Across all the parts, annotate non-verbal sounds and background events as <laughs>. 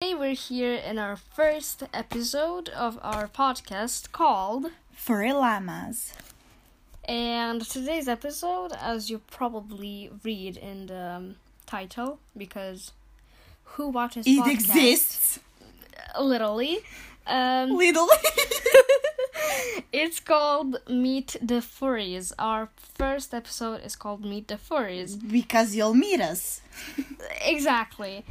we're here in our first episode of our podcast called Furry llamas. And today's episode, as you probably read in the um, title, because who watches It podcasts? exists. Literally. Um, Little. <laughs> it's called Meet the Furries. Our first episode is called Meet the Furries. because you'll meet us. Exactly.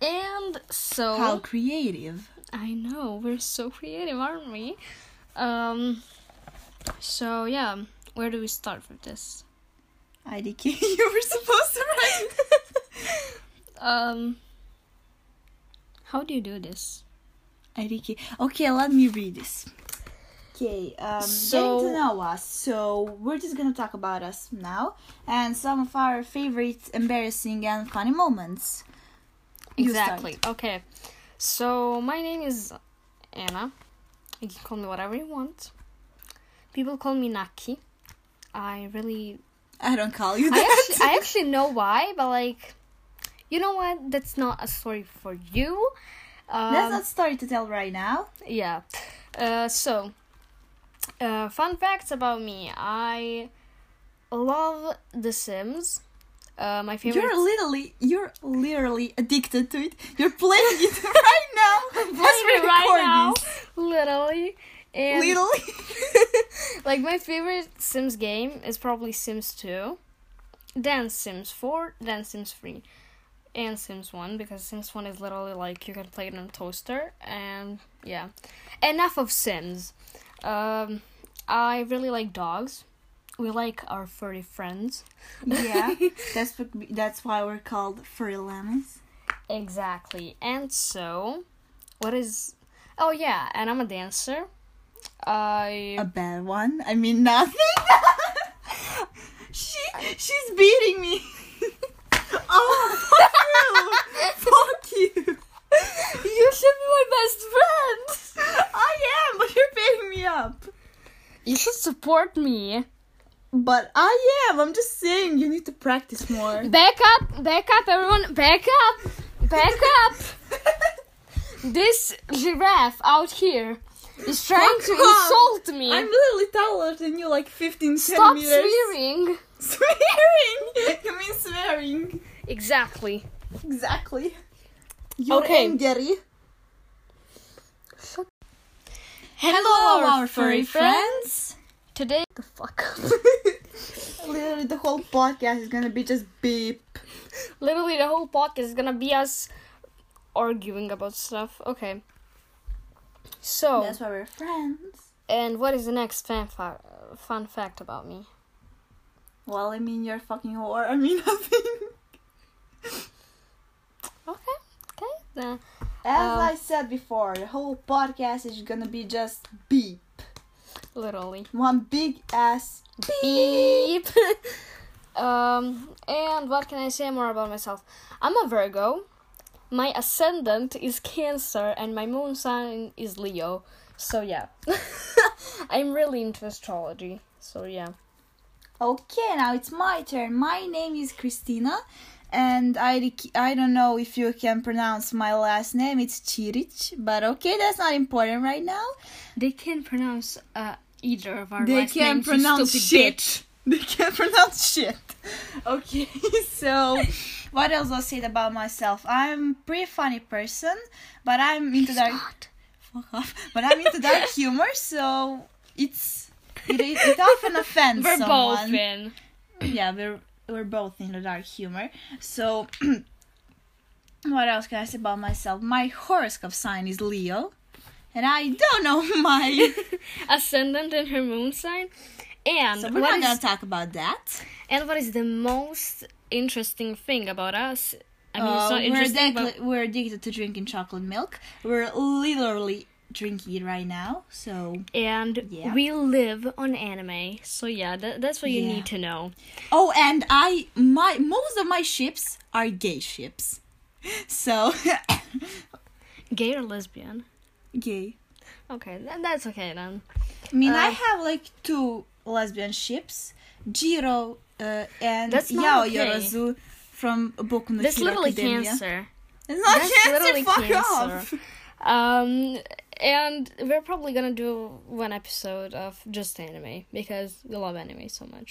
And so. How creative. I know, we're so <laughs> creative, aren't we? Um, so yeah, where do we start with this? IDK, <laughs> you were supposed to write. <laughs> Um, how do you do this? IDK. Okay, let me read this. Okay, um, So- getting to know us. So we're just gonna talk about us now and some of our favorite embarrassing and funny moments. You start. Exactly. Okay. So my name is Anna. You can call me whatever you want. People call me Naki. I really I don't call <laughs> you I that. actually, I actually know why, but like you know what? That's not a story for you. <laughs> Um, That's not story to tell right now. Yeah. Uh, so, uh, fun facts about me. I love The Sims. Uh, my favorite. <laughs> <laughs> You're literally, you're literally addicted to it. You're playing it <laughs> right now. Literally as we right record now. this. Literally. And Literally. like my favorite Sims game is probably Sims 2, then Sims 4, then Sims 3, and Sims 1 because Sims 1 is literally like you can play it on a toaster and yeah. Enough of Sims. Um I really like dogs. We like our furry friends. yeah, that's what, that's why we're called furry lemons. Exactly. And so, what is Oh yeah, and I'm a dancer. I A bad one. I mean nothing. <laughs> she she's beating me. <laughs> oh fuck you! Fuck you! You should be my best friend. I am, but you're beating me up. You should support me. But I am. I'm just saying you need to practice more. Back up, back up, everyone, back up, back up. This giraffe out here is trying to Fuck off. insult me. <laughs> I'm literally taller than you, like 15 Stop centimeters. swearing. <laughs> Swearing. You mean swearing? Exactly. Exactly. You're Okay. angry. Hello, our furry Today, the fuck. <laughs> up. Literally, the whole podcast is gonna be just beep. Literally, the whole podcast is gonna be us arguing about stuff. Okay. So, why we're friends. and what is the next fan fa- fun fact about me? Well, I mean, you're fucking whore. I mean, <laughs> nothing. Okay, okay. then. As Um. I said before, the whole podcast is gonna be just beep. literally. One big ass Beep. <laughs> um, and what can I say more about myself? I'm a Virgo. My ascendant is Cancer, and my moon sign is Leo. So yeah, <laughs> I'm really into astrology. So yeah, Okay, now it's my turn. My name is Christina, and I rec- I don't know if you can pronounce my last name. It's Chirich, but okay, that's not important right now. they can pronounce uh, either of our <laughs> They can't pronounce shit. Okay, <laughs> so what else I'll say about myself? I'm pretty funny person, but I'm into dark. Fuck off. <laughs> But I'm into <laughs> dark humor, so it's it, it often offends We're someone both in. yeah, we're we're both in the dark humor. So <clears throat> what else can I say about myself? My horoscope sign is Leo. And I don't know <laughs> <laughs> my ascendant and her moon sign. And So we're what not is gonna talk about that. and what is the most interesting thing about us? I mean, it's not Uh, we're, interesting, but addicted- we're addicted to drinking chocolate milk. We're literally drinking it right now. So and Yeah. we live on anime. So yeah, tha that's what you Yeah. need to know. Oh, and I my most of my ships are gay ships. So <laughs> Gay or lesbian? gay. Okay, tha- that's okay then. I mean, I Uh, have like two lesbian ships, Jiro uh, and That's not Yao okay. Yorozu from Boku no That's Hero literally Academia. cancer. It's not That's cancer. literally fuck cancer. off. Um, and we're probably gonna do one episode of just anime because we love anime so much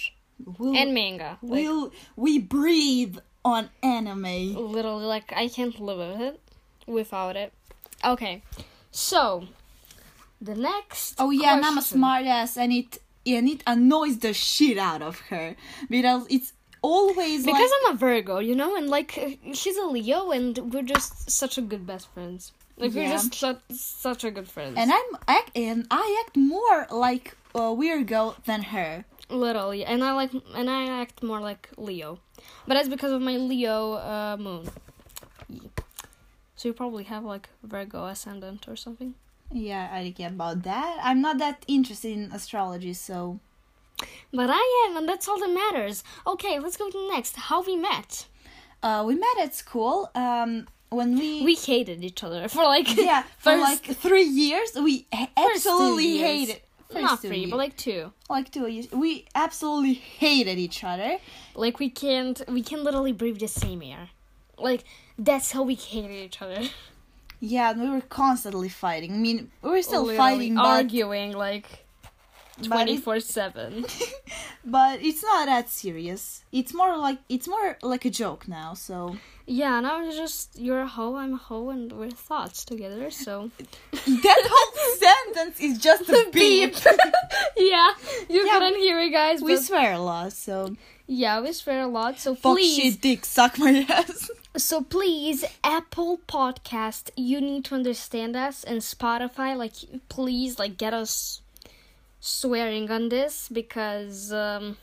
We'll, and manga. Like, we'll we breathe on anime. literally, like I can't live with it without it. Okay, so the next. Oh yeah, and I'm a question- smart ass, and it and it annoys the shit out of her because it's always Because like I'm a Virgo, you know, and like uh, she's a Leo, and we're just such a good best friends. Like we're Yeah. just such such a good friends. and I'm act and I act more like a weird girl than her. literally, and I like and I act more like Leo, but that's because of my Leo uh, moon. Ye- So you probably have like Virgo ascendant or something. Yeah, I think about that. I'm not that interested in astrology, so But I am, and that's all that matters. Okay, let's go to the next. How we met. uh, we met at school. Um, when we We hated each other for like <laughs> yeah for first- like three years we h- two absolutely years. hated <laughs> not first two three, years. but like two. like two years we absolutely hated each other. Like we can't, we can literally breathe the same air. Like that's how we hated each other. Yeah, and we were constantly fighting. I mean, we were <laughs> still Literally fighting, but, arguing like but, twenty it- four seven. <laughs> but it's not that serious. It's more like it's more like a joke now. So <laughs> Yeah, and I was just you're a hoe, I'm a hoe, and we're thoughts together. So that whole <laughs> sentence is <laughs> just a beep. yeah, <laughs> you <laughs> Yeah, couldn't hear it, guys. <laughs> <laughs> we but- swear a lot, so yeah, we swear a lot. So fuck please, shit, dick, suck my <laughs> ass. So please, Apple Podcast, you need to understand us, and Spotify, like please, like get us swearing on this because um,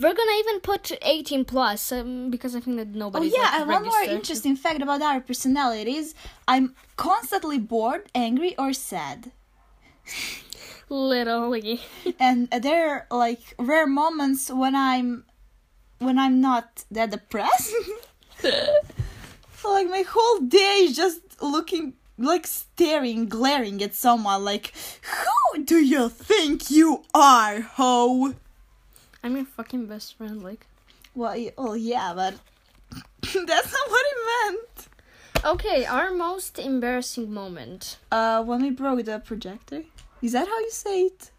we're gonna even put eighteen plus um, because I think that Oh nobody. yeah, like, and one more registered. interesting fact about our personalities: I'm constantly bored, angry, or sad, Literally, and there are like rare moments when I'm, when I'm not that depressed. <laughs> So, like my whole day is just looking, like staring, glaring at someone. Like, who do you think you are, ho? <laughs> I'm your fucking best friend. Like, Well, y- oh yeah, but <laughs> that's not what it meant. okay, our most embarrassing moment, Uh, when we broke the projector, is that how you say it?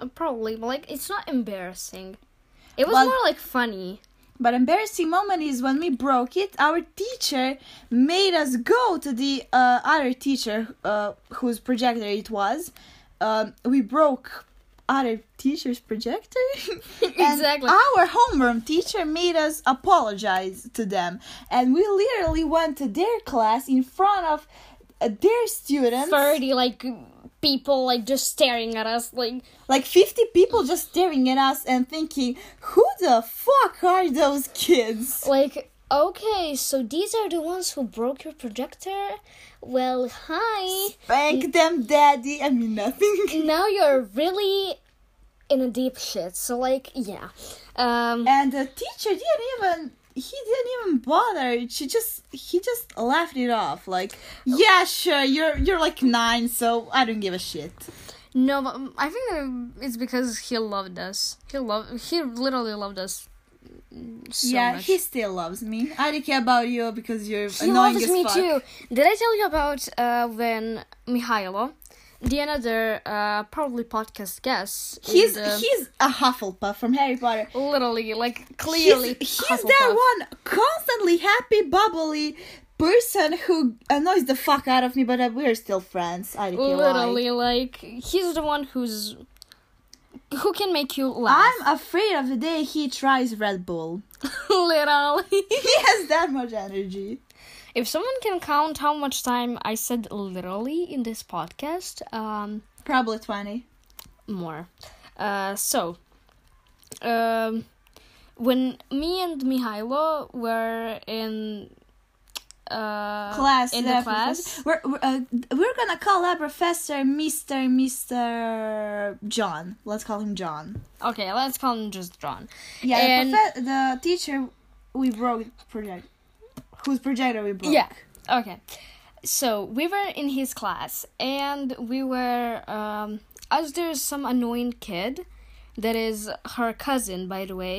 uh, probably, but like it's not embarrassing. It was Well- more like funny. But embarrassing moment is when we broke it. Our teacher made us go to the uh, other teacher uh, whose projector it was. Um, we broke other teacher's projector. and Exactly. Our homeroom teacher made us apologize to them, and we literally went to their class in front of uh, their students. 30 like people like just staring at us like Like 50 people just staring at us and thinking, who the fuck are those kids? like okay so these are the ones who broke your projector well <laughs> hi Thank them, daddy. I mean, nothing. now you're really in a deep shit so like yeah um And the teacher didn't even. He didn't even bother. She just. He just laughed it off. Like, yeah, sure. You're you're like nine, so I don't give a shit. no but i think uh, it's because he loved us he loved he literally loved us so yeah, much. he still loves me. I don't care about you because you're He annoying loves as me fuck. too. Did I tell you about uh, when Mihailo, the another uh, probably podcast guest, in He's the- he's a Hufflepuff from Harry Potter. literally like He's, clearly he's that one constantly happy, bubbly person who annoys the fuck out of me, but uh, we're still friends. I don't care why. literally like he's the one who's who can make you laugh I'm afraid of the day he tries Red Bull. <laughs> <laughs> literally He has that much energy. if someone can count how much time i said literally in this podcast um Probably 20. more uh so um when me and mihailo were in uh Class. in uh, the class professor- We're, we're, uh, we're gonna call our professor Mr. Mr. John. Let's call him John. okay let's call him just john Yeah, And- the, profe- the teacher we broke project. Whose projector we broke. Yeah. Okay. So we were in his class, and we were um, as there's some annoying kid that is her cousin, by the way,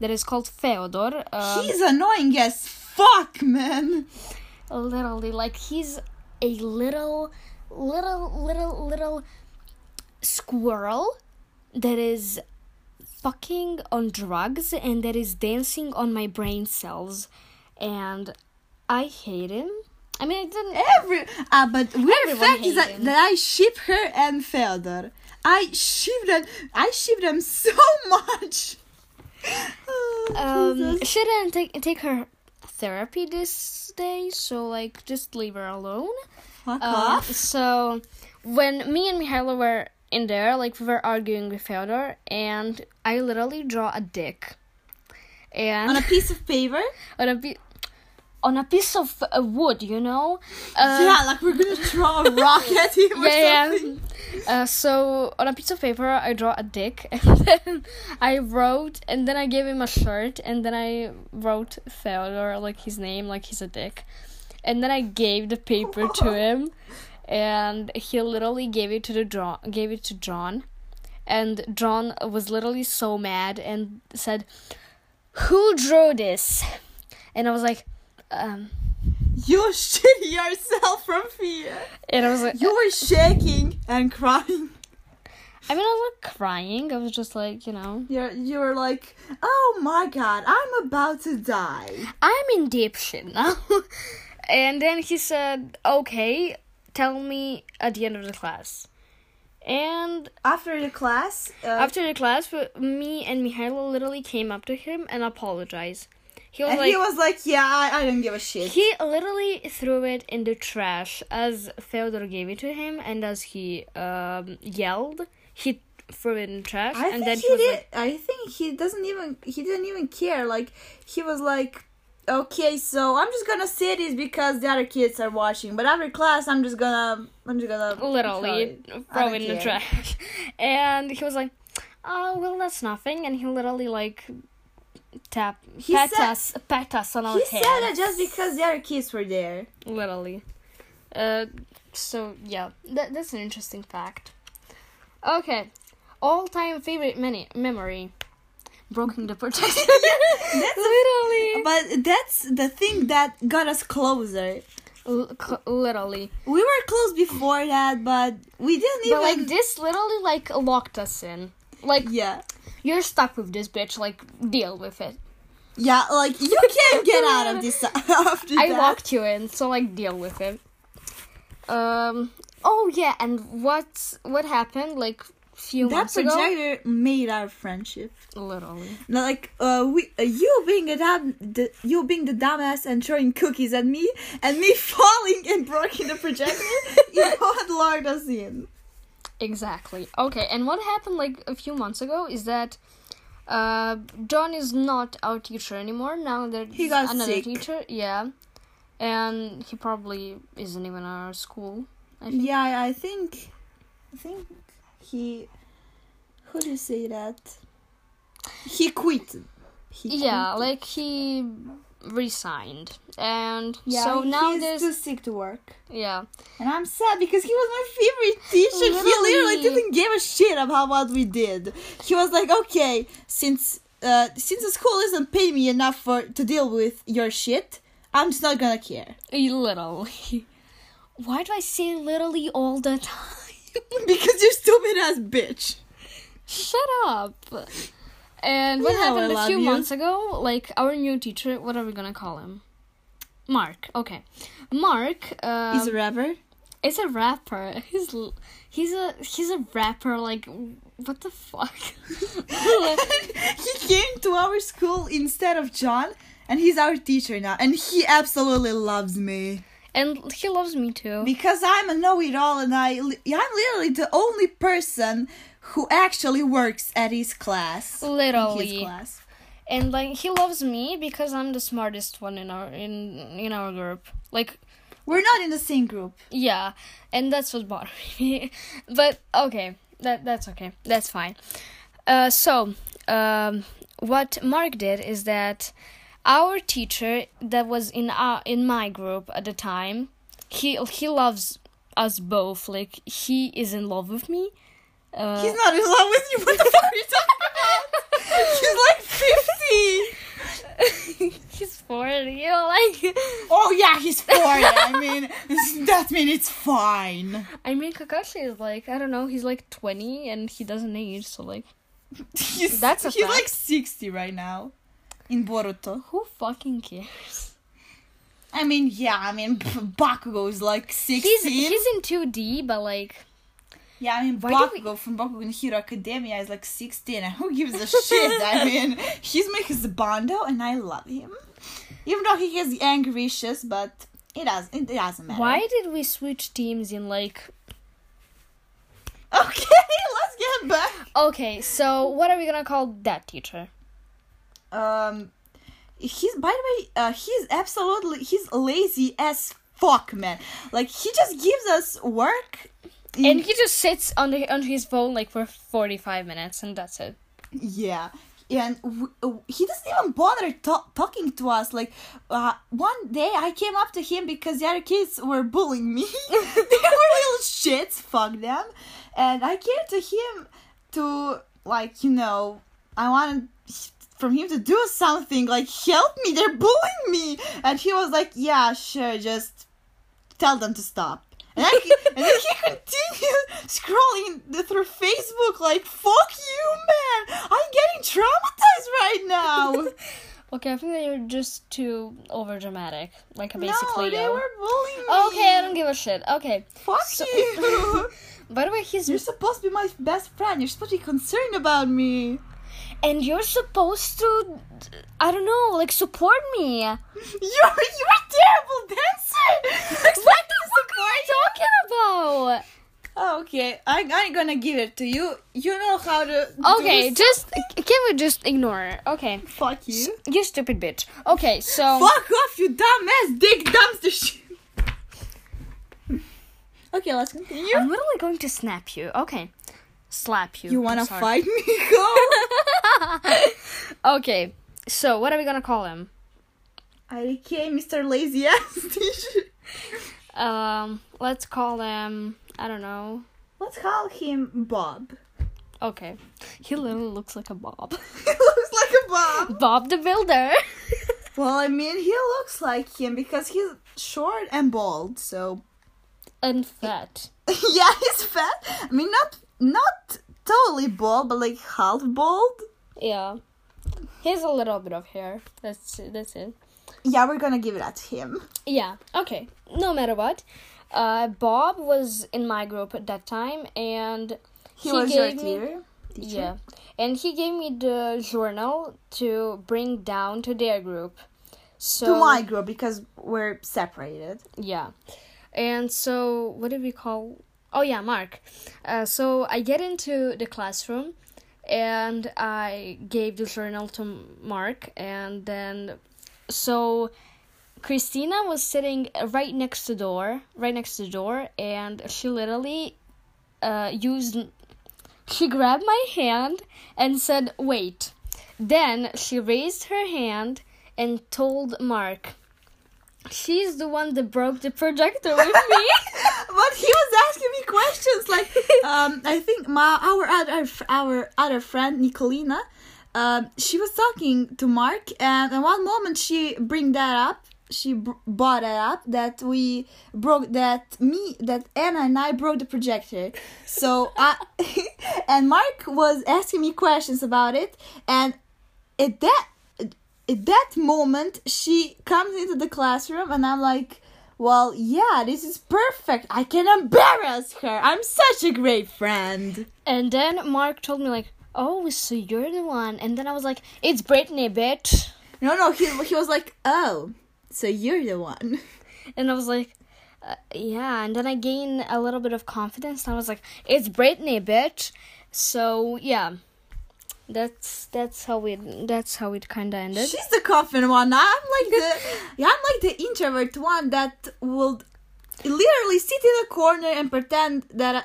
that is called Feodor. Um, He's annoying as fuck, man. literally like he's a little little little little squirrel that is fucking on drugs and that is dancing on my brain cells and I hate him. I mean I didn't Every ah, but weird Everyone fact hates is that, him. that I ship her and Feodor. I ship them. I ship them so <laughs> much. Oh, um Jesus. shouldn't take take her therapy this day, so like just leave her alone. Fuck Uh, off. so when me and Mihailo were in there, like we were arguing with Fyodor, and I literally draw a dick, and On a piece of paper. on a, pi- on a piece of uh, wood, you know. Uh, yeah, like we're gonna throw a rock at him <laughs> or yeah, something. Uh, so on a piece of paper, I draw a dick, <laughs> and then I wrote, and then I gave him a shirt, and then I wrote Theodore, like his name, like he's a dick, and then I gave the paper <laughs> to him, and he literally gave it to the John, gave it to John, and John was literally so mad and said, "Who drew this?" And I was like, um, You shit yourself from fear. and I was like, You were shaking and crying. I mean, I was not crying. I was just like, you know. You're you were like, oh my god, I'm about to die. I'm in deep shit now. <laughs> and then he said, okay, tell me at the end of the class. And After the class, uh, after the class, we- me and Mihailo literally came up to him and apologized. He was and like, he was like, yeah, I, I don't give a shit. he literally threw it in the trash as Theodore gave it to him and as he um, yelled, he threw it in the trash. I and think then he, he was did. like, I think he doesn't even. He didn't even care. Like he was like, okay, so I'm just gonna say this because the other kids are watching. But after class, I'm just gonna. I'm just gonna literally throw it. I throw in don't the care." trash. <laughs> And he was like, "Oh well, that's nothing." And he literally like tap He pat said- us pat us on our He head. said that just because the other kids were there. literally. Uh, so yeah, that that's an interesting fact. Okay, all-time favorite many memory, broken <laughs> the protection. literally, But that's the thing that got us closer. L- c- literally. We were close before that, but we didn't even. But like this, literally like locked us in. Like yeah, you're stuck with this bitch. Like deal with it. yeah, like you can't get out of <laughs> this after I that. locked you in, so like deal with it. Um. Oh yeah, and what what happened like few That months ago? projector made our friendship. Literally. No, like uh, we, uh, you being a dumb, the, you being the dumbass and throwing cookies at me, and me <laughs> falling and breaking the <laughs> projector, is what locked us in. Exactly. Okay, and what happened like a few months ago is that uh John is not our teacher anymore. Now there's He got another sick. teacher. Yeah. And he probably isn't even at our school. I think. Yeah, I- I think, I think he, who do you say that? He quit. He Yeah, quit. like he resigned. And Yeah, so now he's there's too sick to work, yeah. and I'm sad because he was my favorite teacher. He literally Literally. didn't give a shit about what we did. He was like, okay, since uh, since the school isn't paying me enough for to deal with your shit, I'm just not gonna care Literally. <laughs> Why do I say literally all the time? <laughs> because you're stupid ass bitch. Shut up. And what Yeah, I happened a love few you. months ago, like our new teacher, what are we gonna call him? Mark. Okay. Mark uh, He's a rapper. <laughs> is a rapper. He's l- he's a he's a rapper like what the fuck? <laughs> he came to our school instead of John, and he's our teacher now, and he absolutely loves me. and he loves me too. Because I'm a know-it-all, and I li- I'm literally the only person who actually works at his class. His Literally. class. and like he loves me because I'm the smartest one in our in in our group. Like We're not in the same group. Yeah, and that's what bothered me. <laughs> but okay, that that's okay. That's fine. Uh, so, um, what Mark did is that our teacher that was in our in my group at the time, he he loves us both. Like he is in love with me. Uh, <laughs> He's not in love with you. What the fuck are you talking about? He's like 50. he's 40. You know, like. Oh yeah, he's 40. I mean, <laughs> that means it's fine. I mean, Kakashi is like, I don't know, he's like 20 and he doesn't age, so like. He's, That's a he's fact. like 60 right now in Boruto. Who fucking cares? I mean, yeah, I mean, <laughs> pff, Bakugo is like 16. He's he's in 2D, but like yeah, I mean, Why do we- Bakugo from Bakugo in Hero Academia is like 16. and Who gives a shit? <laughs> I mean, he's my husbando and I love him. Even though he has angry wishes, but it doesn't, it doesn't matter. why did we switch teams in like Okay, <laughs> let's get back. Okay, so what are we gonna call that teacher? Um, he's by the way, uh, he's absolutely he's lazy as fuck, man. Like he just gives us work. in- And he just sits on the on his phone like for forty five minutes and that's it. yeah. And w- w- he doesn't even bother ta- talking to us. Like, uh, one day I came up to him because the other kids were bullying me. <laughs> they were little shits, fuck them. And I came to him to, like, you know, I wanted from him to do something. Like, help me, they're bullying me. And he was like, yeah, sure, just tell them to stop. And, I, and then he continued scrolling the, through Facebook like, fuck you, man! I'm getting traumatized right now! Okay, I think that you're just too over dramatic. Like a basic no, they Leo. were bullying me! Okay, I don't give a shit. Okay. Fuck So- you! By the way, he's You're supposed to be my best friend. You're supposed to be concerned about me. and you're supposed to I don't know, like support me. What You're you're a terrible dancer. What the fuck are you talking about? Okay, I, I'm gonna give it to you. You know how to. Okay, do just can we just ignore her? Okay. s- fuck you. You stupid bitch. Okay, so Fuck off, you dumbass dick dumpster shit. okay, let's continue. I'm literally going to snap you. Okay. Slap you. you I'm wanna sorry. fight <laughs> me? Go. okay. So what are we gonna call him? IDK, Mr. Lazy Ass <laughs> teacher. Um let's call him I don't know. Let's call him Bob. Okay. He literally looks like a Bob. <laughs> <laughs> he looks like a Bob. Bob the Builder. <laughs> Well, I mean, he looks like him because he's short and bald, so. <laughs> and fat. yeah, he's fat. I mean, not not totally bald, but like half bald. Yeah. He has a little bit of hair. That's that's it. Yeah, we're gonna give it at him. Yeah. Okay. No matter what, uh, Bob was in my group at that time, and He, was your me- teacher. teacher. Yeah, and he gave me the journal to bring down to their group. So To my group because we're separated. yeah, and so what did we call? Oh yeah, Mark. Uh, so I get into the classroom, and I gave the journal to Mark, and then so Christina was sitting right next to door, right next to door, and she literally uh, used. She grabbed my hand and said, "Wait." Then she raised her hand and told Mark, "She's the one that broke the projector with me." <laughs> <laughs> but he was asking me questions <laughs> like um i think my our other our other friend nicolina um she was talking to mark and in one moment she bring that up she br- brought it up that we broke that me that anna and i broke the projector so i <laughs> and mark was asking me questions about it and at that at that moment she comes into the classroom and i'm like well yeah this is perfect i can embarrass her i'm such a great friend and then Mark told me like, "Oh, so you're the one." And then I was like, "It's Brittany, bitch." no no he, he was like oh so you're the one <laughs> And I was like, uh, yeah. And then I gained a little bit of confidence. And I was like, it's Britney, bitch. So yeah, that's that's how we that's how it kind of ended. she's the confident one i'm like the yeah, i'm like the introvert one that will literally sit in a corner and pretend that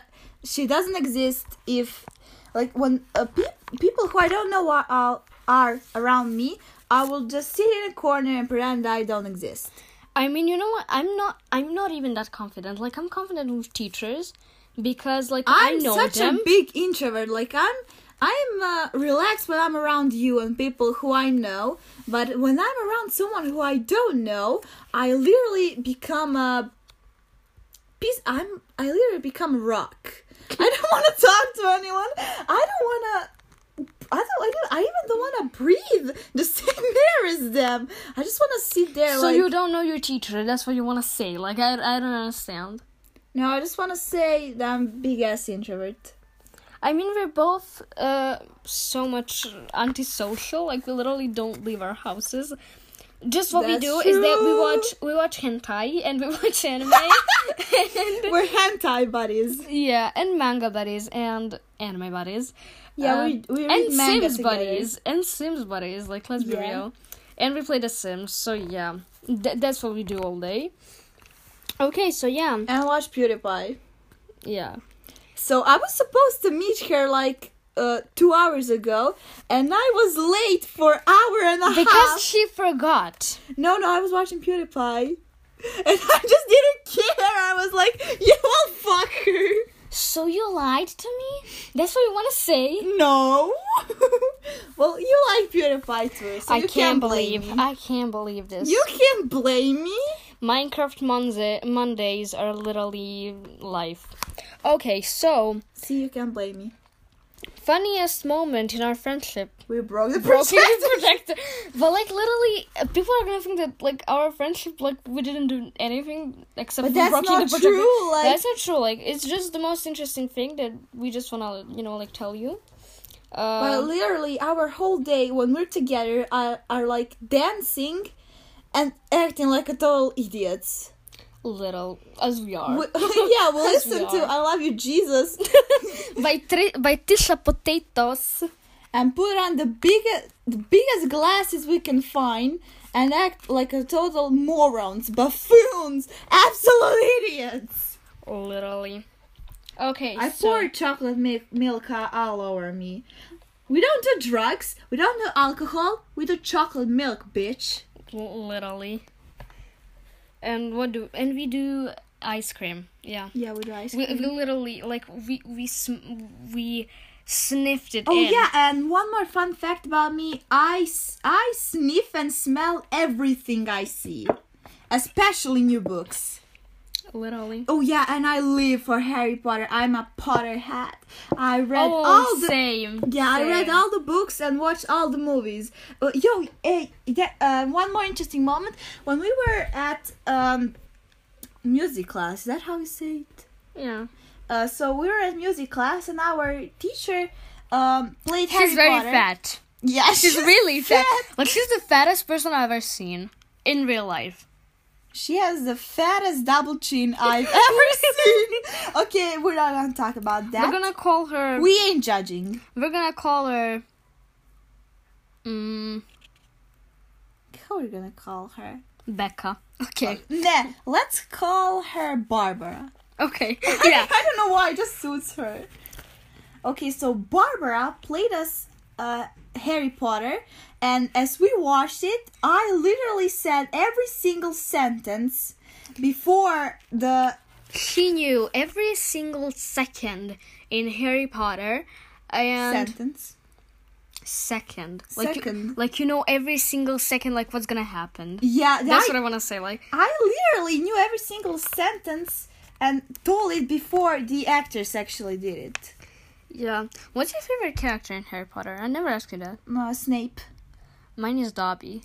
she doesn't exist if like when uh, pe- people who i don't know are, are are around me i will just sit in a corner and pretend i don't exist I mean, you know what? I'm not I'm not even that confident. Like I'm confident with teachers because like i I'm know such them. a big introvert. Like I'm I'm uh, relaxed when I'm around you and people who I know, but when I'm around someone who I don't know, I literally become a piece. I'm I literally become a rock. I don't <laughs> want to talk to anyone. I don't want to. I don't, I don't. I even don't want to breathe the <laughs> same air as them. I just want to <laughs> sit there. So like, you don't know your teacher. That's what you want to say. Like I, I don't understand. no, I just want to say that I'm big ass introvert. I mean, we're both uh, so much antisocial. Like we literally don't leave our houses. Just what That's we do is that we true. watch we watch hentai and we watch <laughs> anime and <laughs> We're hentai buddies. yeah and manga buddies and anime buddies. Yeah, Uh, we we read and manga Sims together. buddies and Sims buddies. Like let's be Yeah. real, and we play the Sims. So yeah, Th- that's what we do all day. Okay, so yeah, and watch PewDiePie. yeah. So I was supposed to meet her like uh, two hours ago, and I was late for hour and a Because half. she forgot. No, no, I was watching PewDiePie, <laughs> and I just didn't care. I was like, you all fucker. So you lied to me? That's what you want to say? No. <laughs> well, you like PewDiePie too, so I you can't, blame believe. me. I can't believe this. You can't blame me. Minecraft Monza- Mondays are literally life. Okay, so See, you can blame me. funniest moment in our <laughs> friendship. We broke the Broken project. the projector. But like literally, uh, people are gonna think that like our friendship, like we didn't do anything except But for that's broken not the projector. true, like- that's not true. Like it's just the most interesting thing that we just wanna you know like tell you. Uh, But literally, our whole day when we're together are, are like dancing and acting like a total idiots. little as we are. <laughs> We, <laughs> yeah, we Yes, listen Uh, we to are. I Love You, <laughs> Jesus, by tri- by Tisha Potatoes. and put on the biggest, the biggest glasses we can find and act like a total morons, buffoons, absolute idiots. Literally. Okay. I so- poured chocolate milk, milk all over me. We don't do drugs, we don't do alcohol, we do chocolate milk, bitch. L- Literally. And what do and we do ice cream? Yeah. Yeah, we do ice We, we literally like we we sm- we sniffed it Oh in. yeah, and one more fun fact about me: I s- I sniff and smell everything I see, especially new books. Literally. Oh yeah, and I live for Harry Potter. I'm a Potterhead. I read oh, all the same. yeah, I read same. all the books and watched all the movies. Uh, yo, eh, yeah, uh, one more interesting moment when we were at um, music class. Is that how you say it? Yeah. Uh, so we were at music class, and our teacher um, played Harry She's very Potter. fat. Yeah, She's <laughs> really fat. Like she's the fattest person I've ever seen in real life. She has the fattest double chin I've <laughs> ever seen. Okay, we're not gonna talk about that. We're gonna call her. We ain't judging. We're gonna call her. Mm, How are we gonna call her? Um, Becca. <laughs> Okay. Nah, let's call her Barbara. Okay. I- Yeah. I, don't know why, it just suits her. Okay, so Barbara played us uh, Harry Potter, and as we watched it, I literally said every single sentence before the She knew every single second in Harry Potter and sentence. second. Like You, Second. like you know every single second like what's going to happen. Yeah, That's I- what I want to say like I literally knew every single sentence and told it before the actors actually did it. yeah. What's your favorite character in Harry Potter? I never asked you that. No, Snape. Mine is <laughs> Dobby.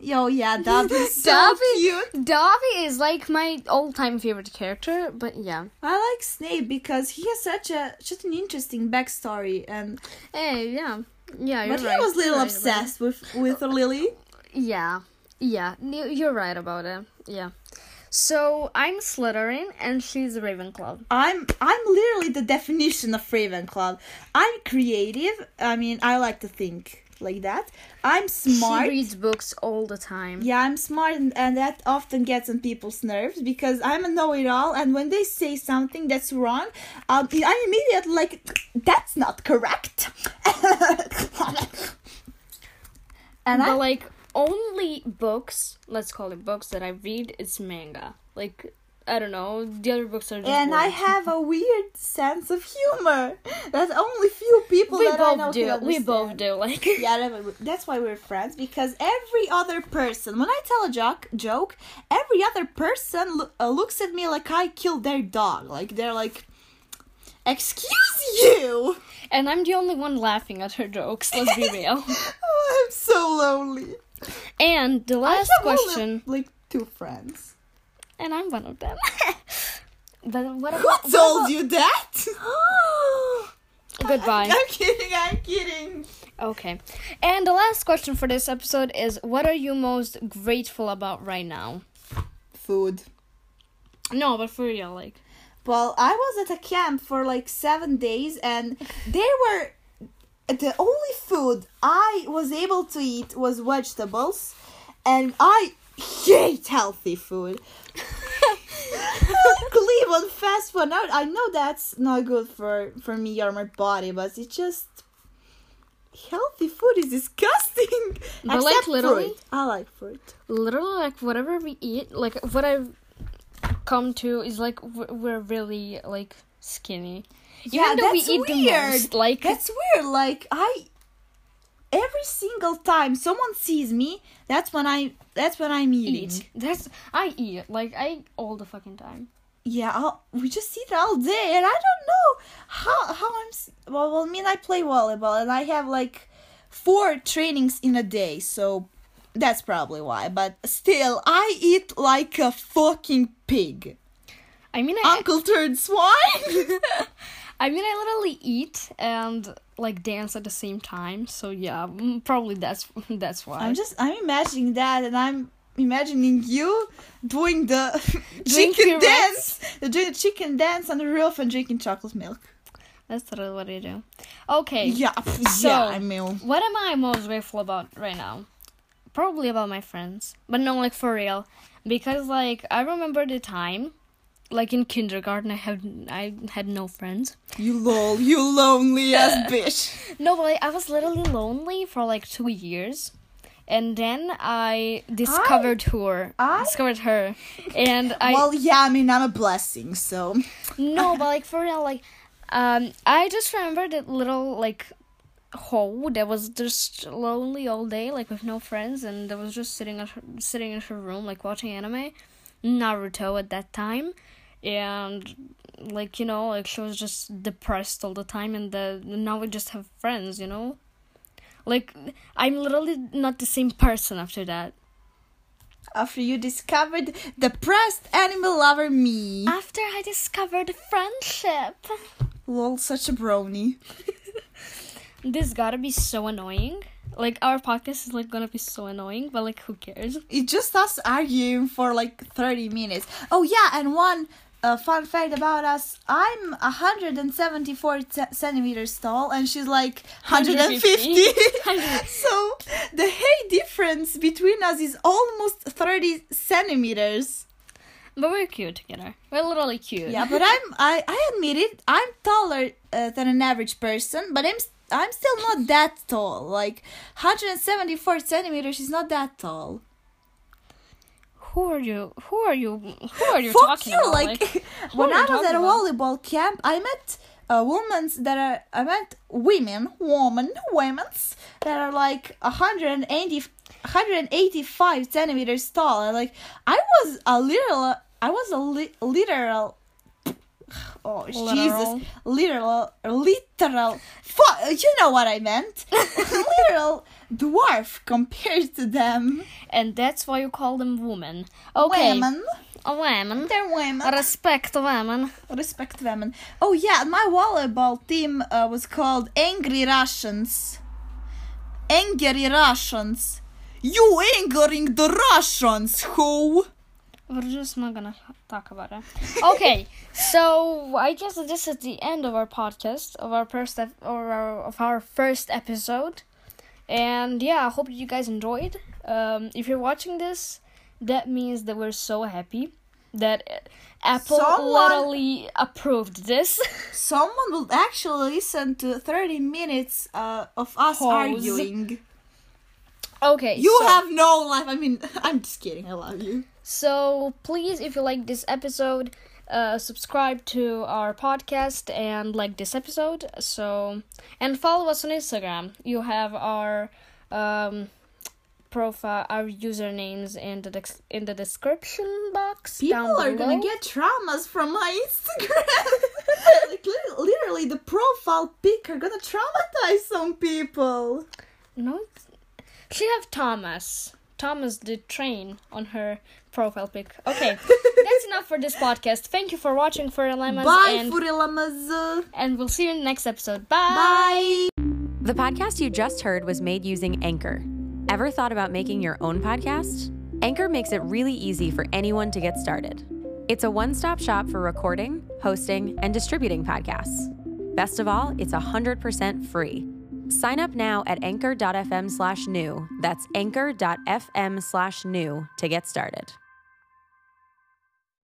Yo, <laughs> yeah, Dobby's so Dobby. cute. Dobby is like my all-time favorite character, but yeah. I like Snape because he has such a such an interesting backstory, and Hey, yeah. Yeah, you're but right. he was a little You're right about it. obsessed with with Lily. Yeah, yeah, you- you're right about it. Yeah. So I'm Slytherin and she's Ravenclaw. I'm I'm literally the definition of Ravenclaw. I'm creative. I mean, I like to think like that. I'm smart. She reads books all the time. Yeah, I'm smart, and, and that often gets on people's nerves because I'm a know-it-all, and when they say something that's wrong, um, I immediately like, that's not correct. <laughs> and but I, like only books, let's call it books that I read is manga. Like I don't know. The other books are just. and I words. have a weird sense of humor that only few people We that I know both can do. We both understand. do. Like. <laughs> <laughs> Yeah, that- that's why we're friends because every other person, when I tell a joke, joke, every other person lo- uh, looks at me like I killed their dog. Like they're like, "Excuse you." And I'm the only one laughing at her jokes. <laughs> Let's <laughs> be real. oh, I'm so lonely. And the last I have only, question. like two friends. and I'm one of them. <laughs> but what Who about told you that? <gasps> goodbye? I'm kidding. I'm kidding. Okay. And the last question for this episode is what are you most grateful about right now? Food. No, but for real, like Well, I was at a camp for like seven days, and they were the only food I was able to eat was vegetables, and I hate healthy food. <laughs> Leave on fast food. Now I know that's not good for for me or my body, but it's just healthy food is disgusting. But, like, Except literally- fruit. I like fruit. literally like whatever we eat, like what I've come to is like we're we're really like skinny. Even though we that's eat the weird. most, like That's weird. Like I, every single time someone sees me, that's when I. That's when I'm eating. eat. That's I eat like I eat all the fucking time. Yeah, I'll, we just eat all day, and I don't know how how I'm. s- Well, well, me and I play volleyball, and I have like four trainings in a day, so that's probably why. But still, I eat like a fucking pig. I mean, I Uncle turned swine. <laughs> I mean, I literally eat and like dance at the same time. So yeah, mm, probably that's <laughs> that's why. I'm just I'm imagining that, and I'm imagining you doing the <laughs> Doing chicken pirouettes. dance, doing the chicken dance on the roof and drinking chocolate milk. that's totally what I do. Okay. Yeah, pff, So- yeah, I mean, What am I most grateful about right now? Probably about my friends, but no, like for real, because like I remember the time, like in kindergarten, I had I had no friends. you lol, you <laughs> lonely ass bitch. No, but like, I was literally lonely for like two years, and then I discovered her. I- discovered her, and I well, yeah, I mean, I'm a blessing, so No, but like for real, like um, I just remember that little like hole that was just lonely all day, like with no friends, and I was just sitting at her, sitting in her room, like watching anime, Naruto at that time, and like you know, like she was just depressed all the time, and the now we just have friends, you know. Like I'm literally not the same person after that. after you discovered depressed animal lover me, After I discovered friendship. lol, such a brony. This gotta be so annoying. Like our podcast is like gonna be so annoying, but like who cares? It's just us arguing for like 30 minutes. Oh, yeah, and one uh, fun fact about us I'm 174 c- centimeters tall, and she's like 150. <laughs> 150. so the height difference between us is almost 30 centimeters. But we're cute together. We're literally cute. Yeah, but <laughs> I'm I, I admit it, I'm taller uh, than an average person, but I'm s- I'm still not that tall. Like 174 centimeters is not that tall. Who are you? Who are you? Who are you Fuck talking you! about? Like, <laughs> who when are you I was talking at a about? volleyball camp, I met a woman's that are I met women, woman, women's that are like 180, 185 centimeters tall. And like I was a literal, I was a li- literal. <sighs> Oh Literal. Jesus! Literal, literal. Fu- you know what I <laughs> meant. literal dwarf compared to them. and that's why you call them women. Okay, Women, a woman. they're women. Respect women. Respect women. Oh yeah, my volleyball team uh, was called Angry Russians. Angry Russians. You angering the Russians, who? We're just not gonna talk about it. Okay, so I guess this is the end of our podcast of our first ep- or our, of our first episode, and yeah, I hope you guys enjoyed. Um, if you're watching this, that means that we're so happy that uh, Apple Someone- literally approved this. <laughs> Someone will actually listen to 30 minutes uh, of us Hoes. arguing. okay, You so- <laughs> have no life. I mean, I'm just kidding. I love you. So please, if you like this episode, uh, subscribe to our podcast and like this episode. So and follow us on Instagram. You have our um, profile, our usernames in the dex- in the description box. People down are gonna below. get traumas from my Instagram. <laughs> like li- literally, the profile pic are gonna traumatize some people. No, it's- she have Thomas. Thomas the train on her profile pic. <laughs> Okay, that's enough for this podcast. Thank you for watching for Lemons, Bye, and Furilamaz. and we'll see you in the next episode. Bye. The podcast you just heard was made using Anchor. Ever thought about making your own podcast? Anchor makes it really easy for anyone to get started. It's a one stop shop for recording, hosting, and distributing podcasts. Best of all, it's 100% free. Sign up now at anchor.fm slash new. That's anchor.fm slash new to get started.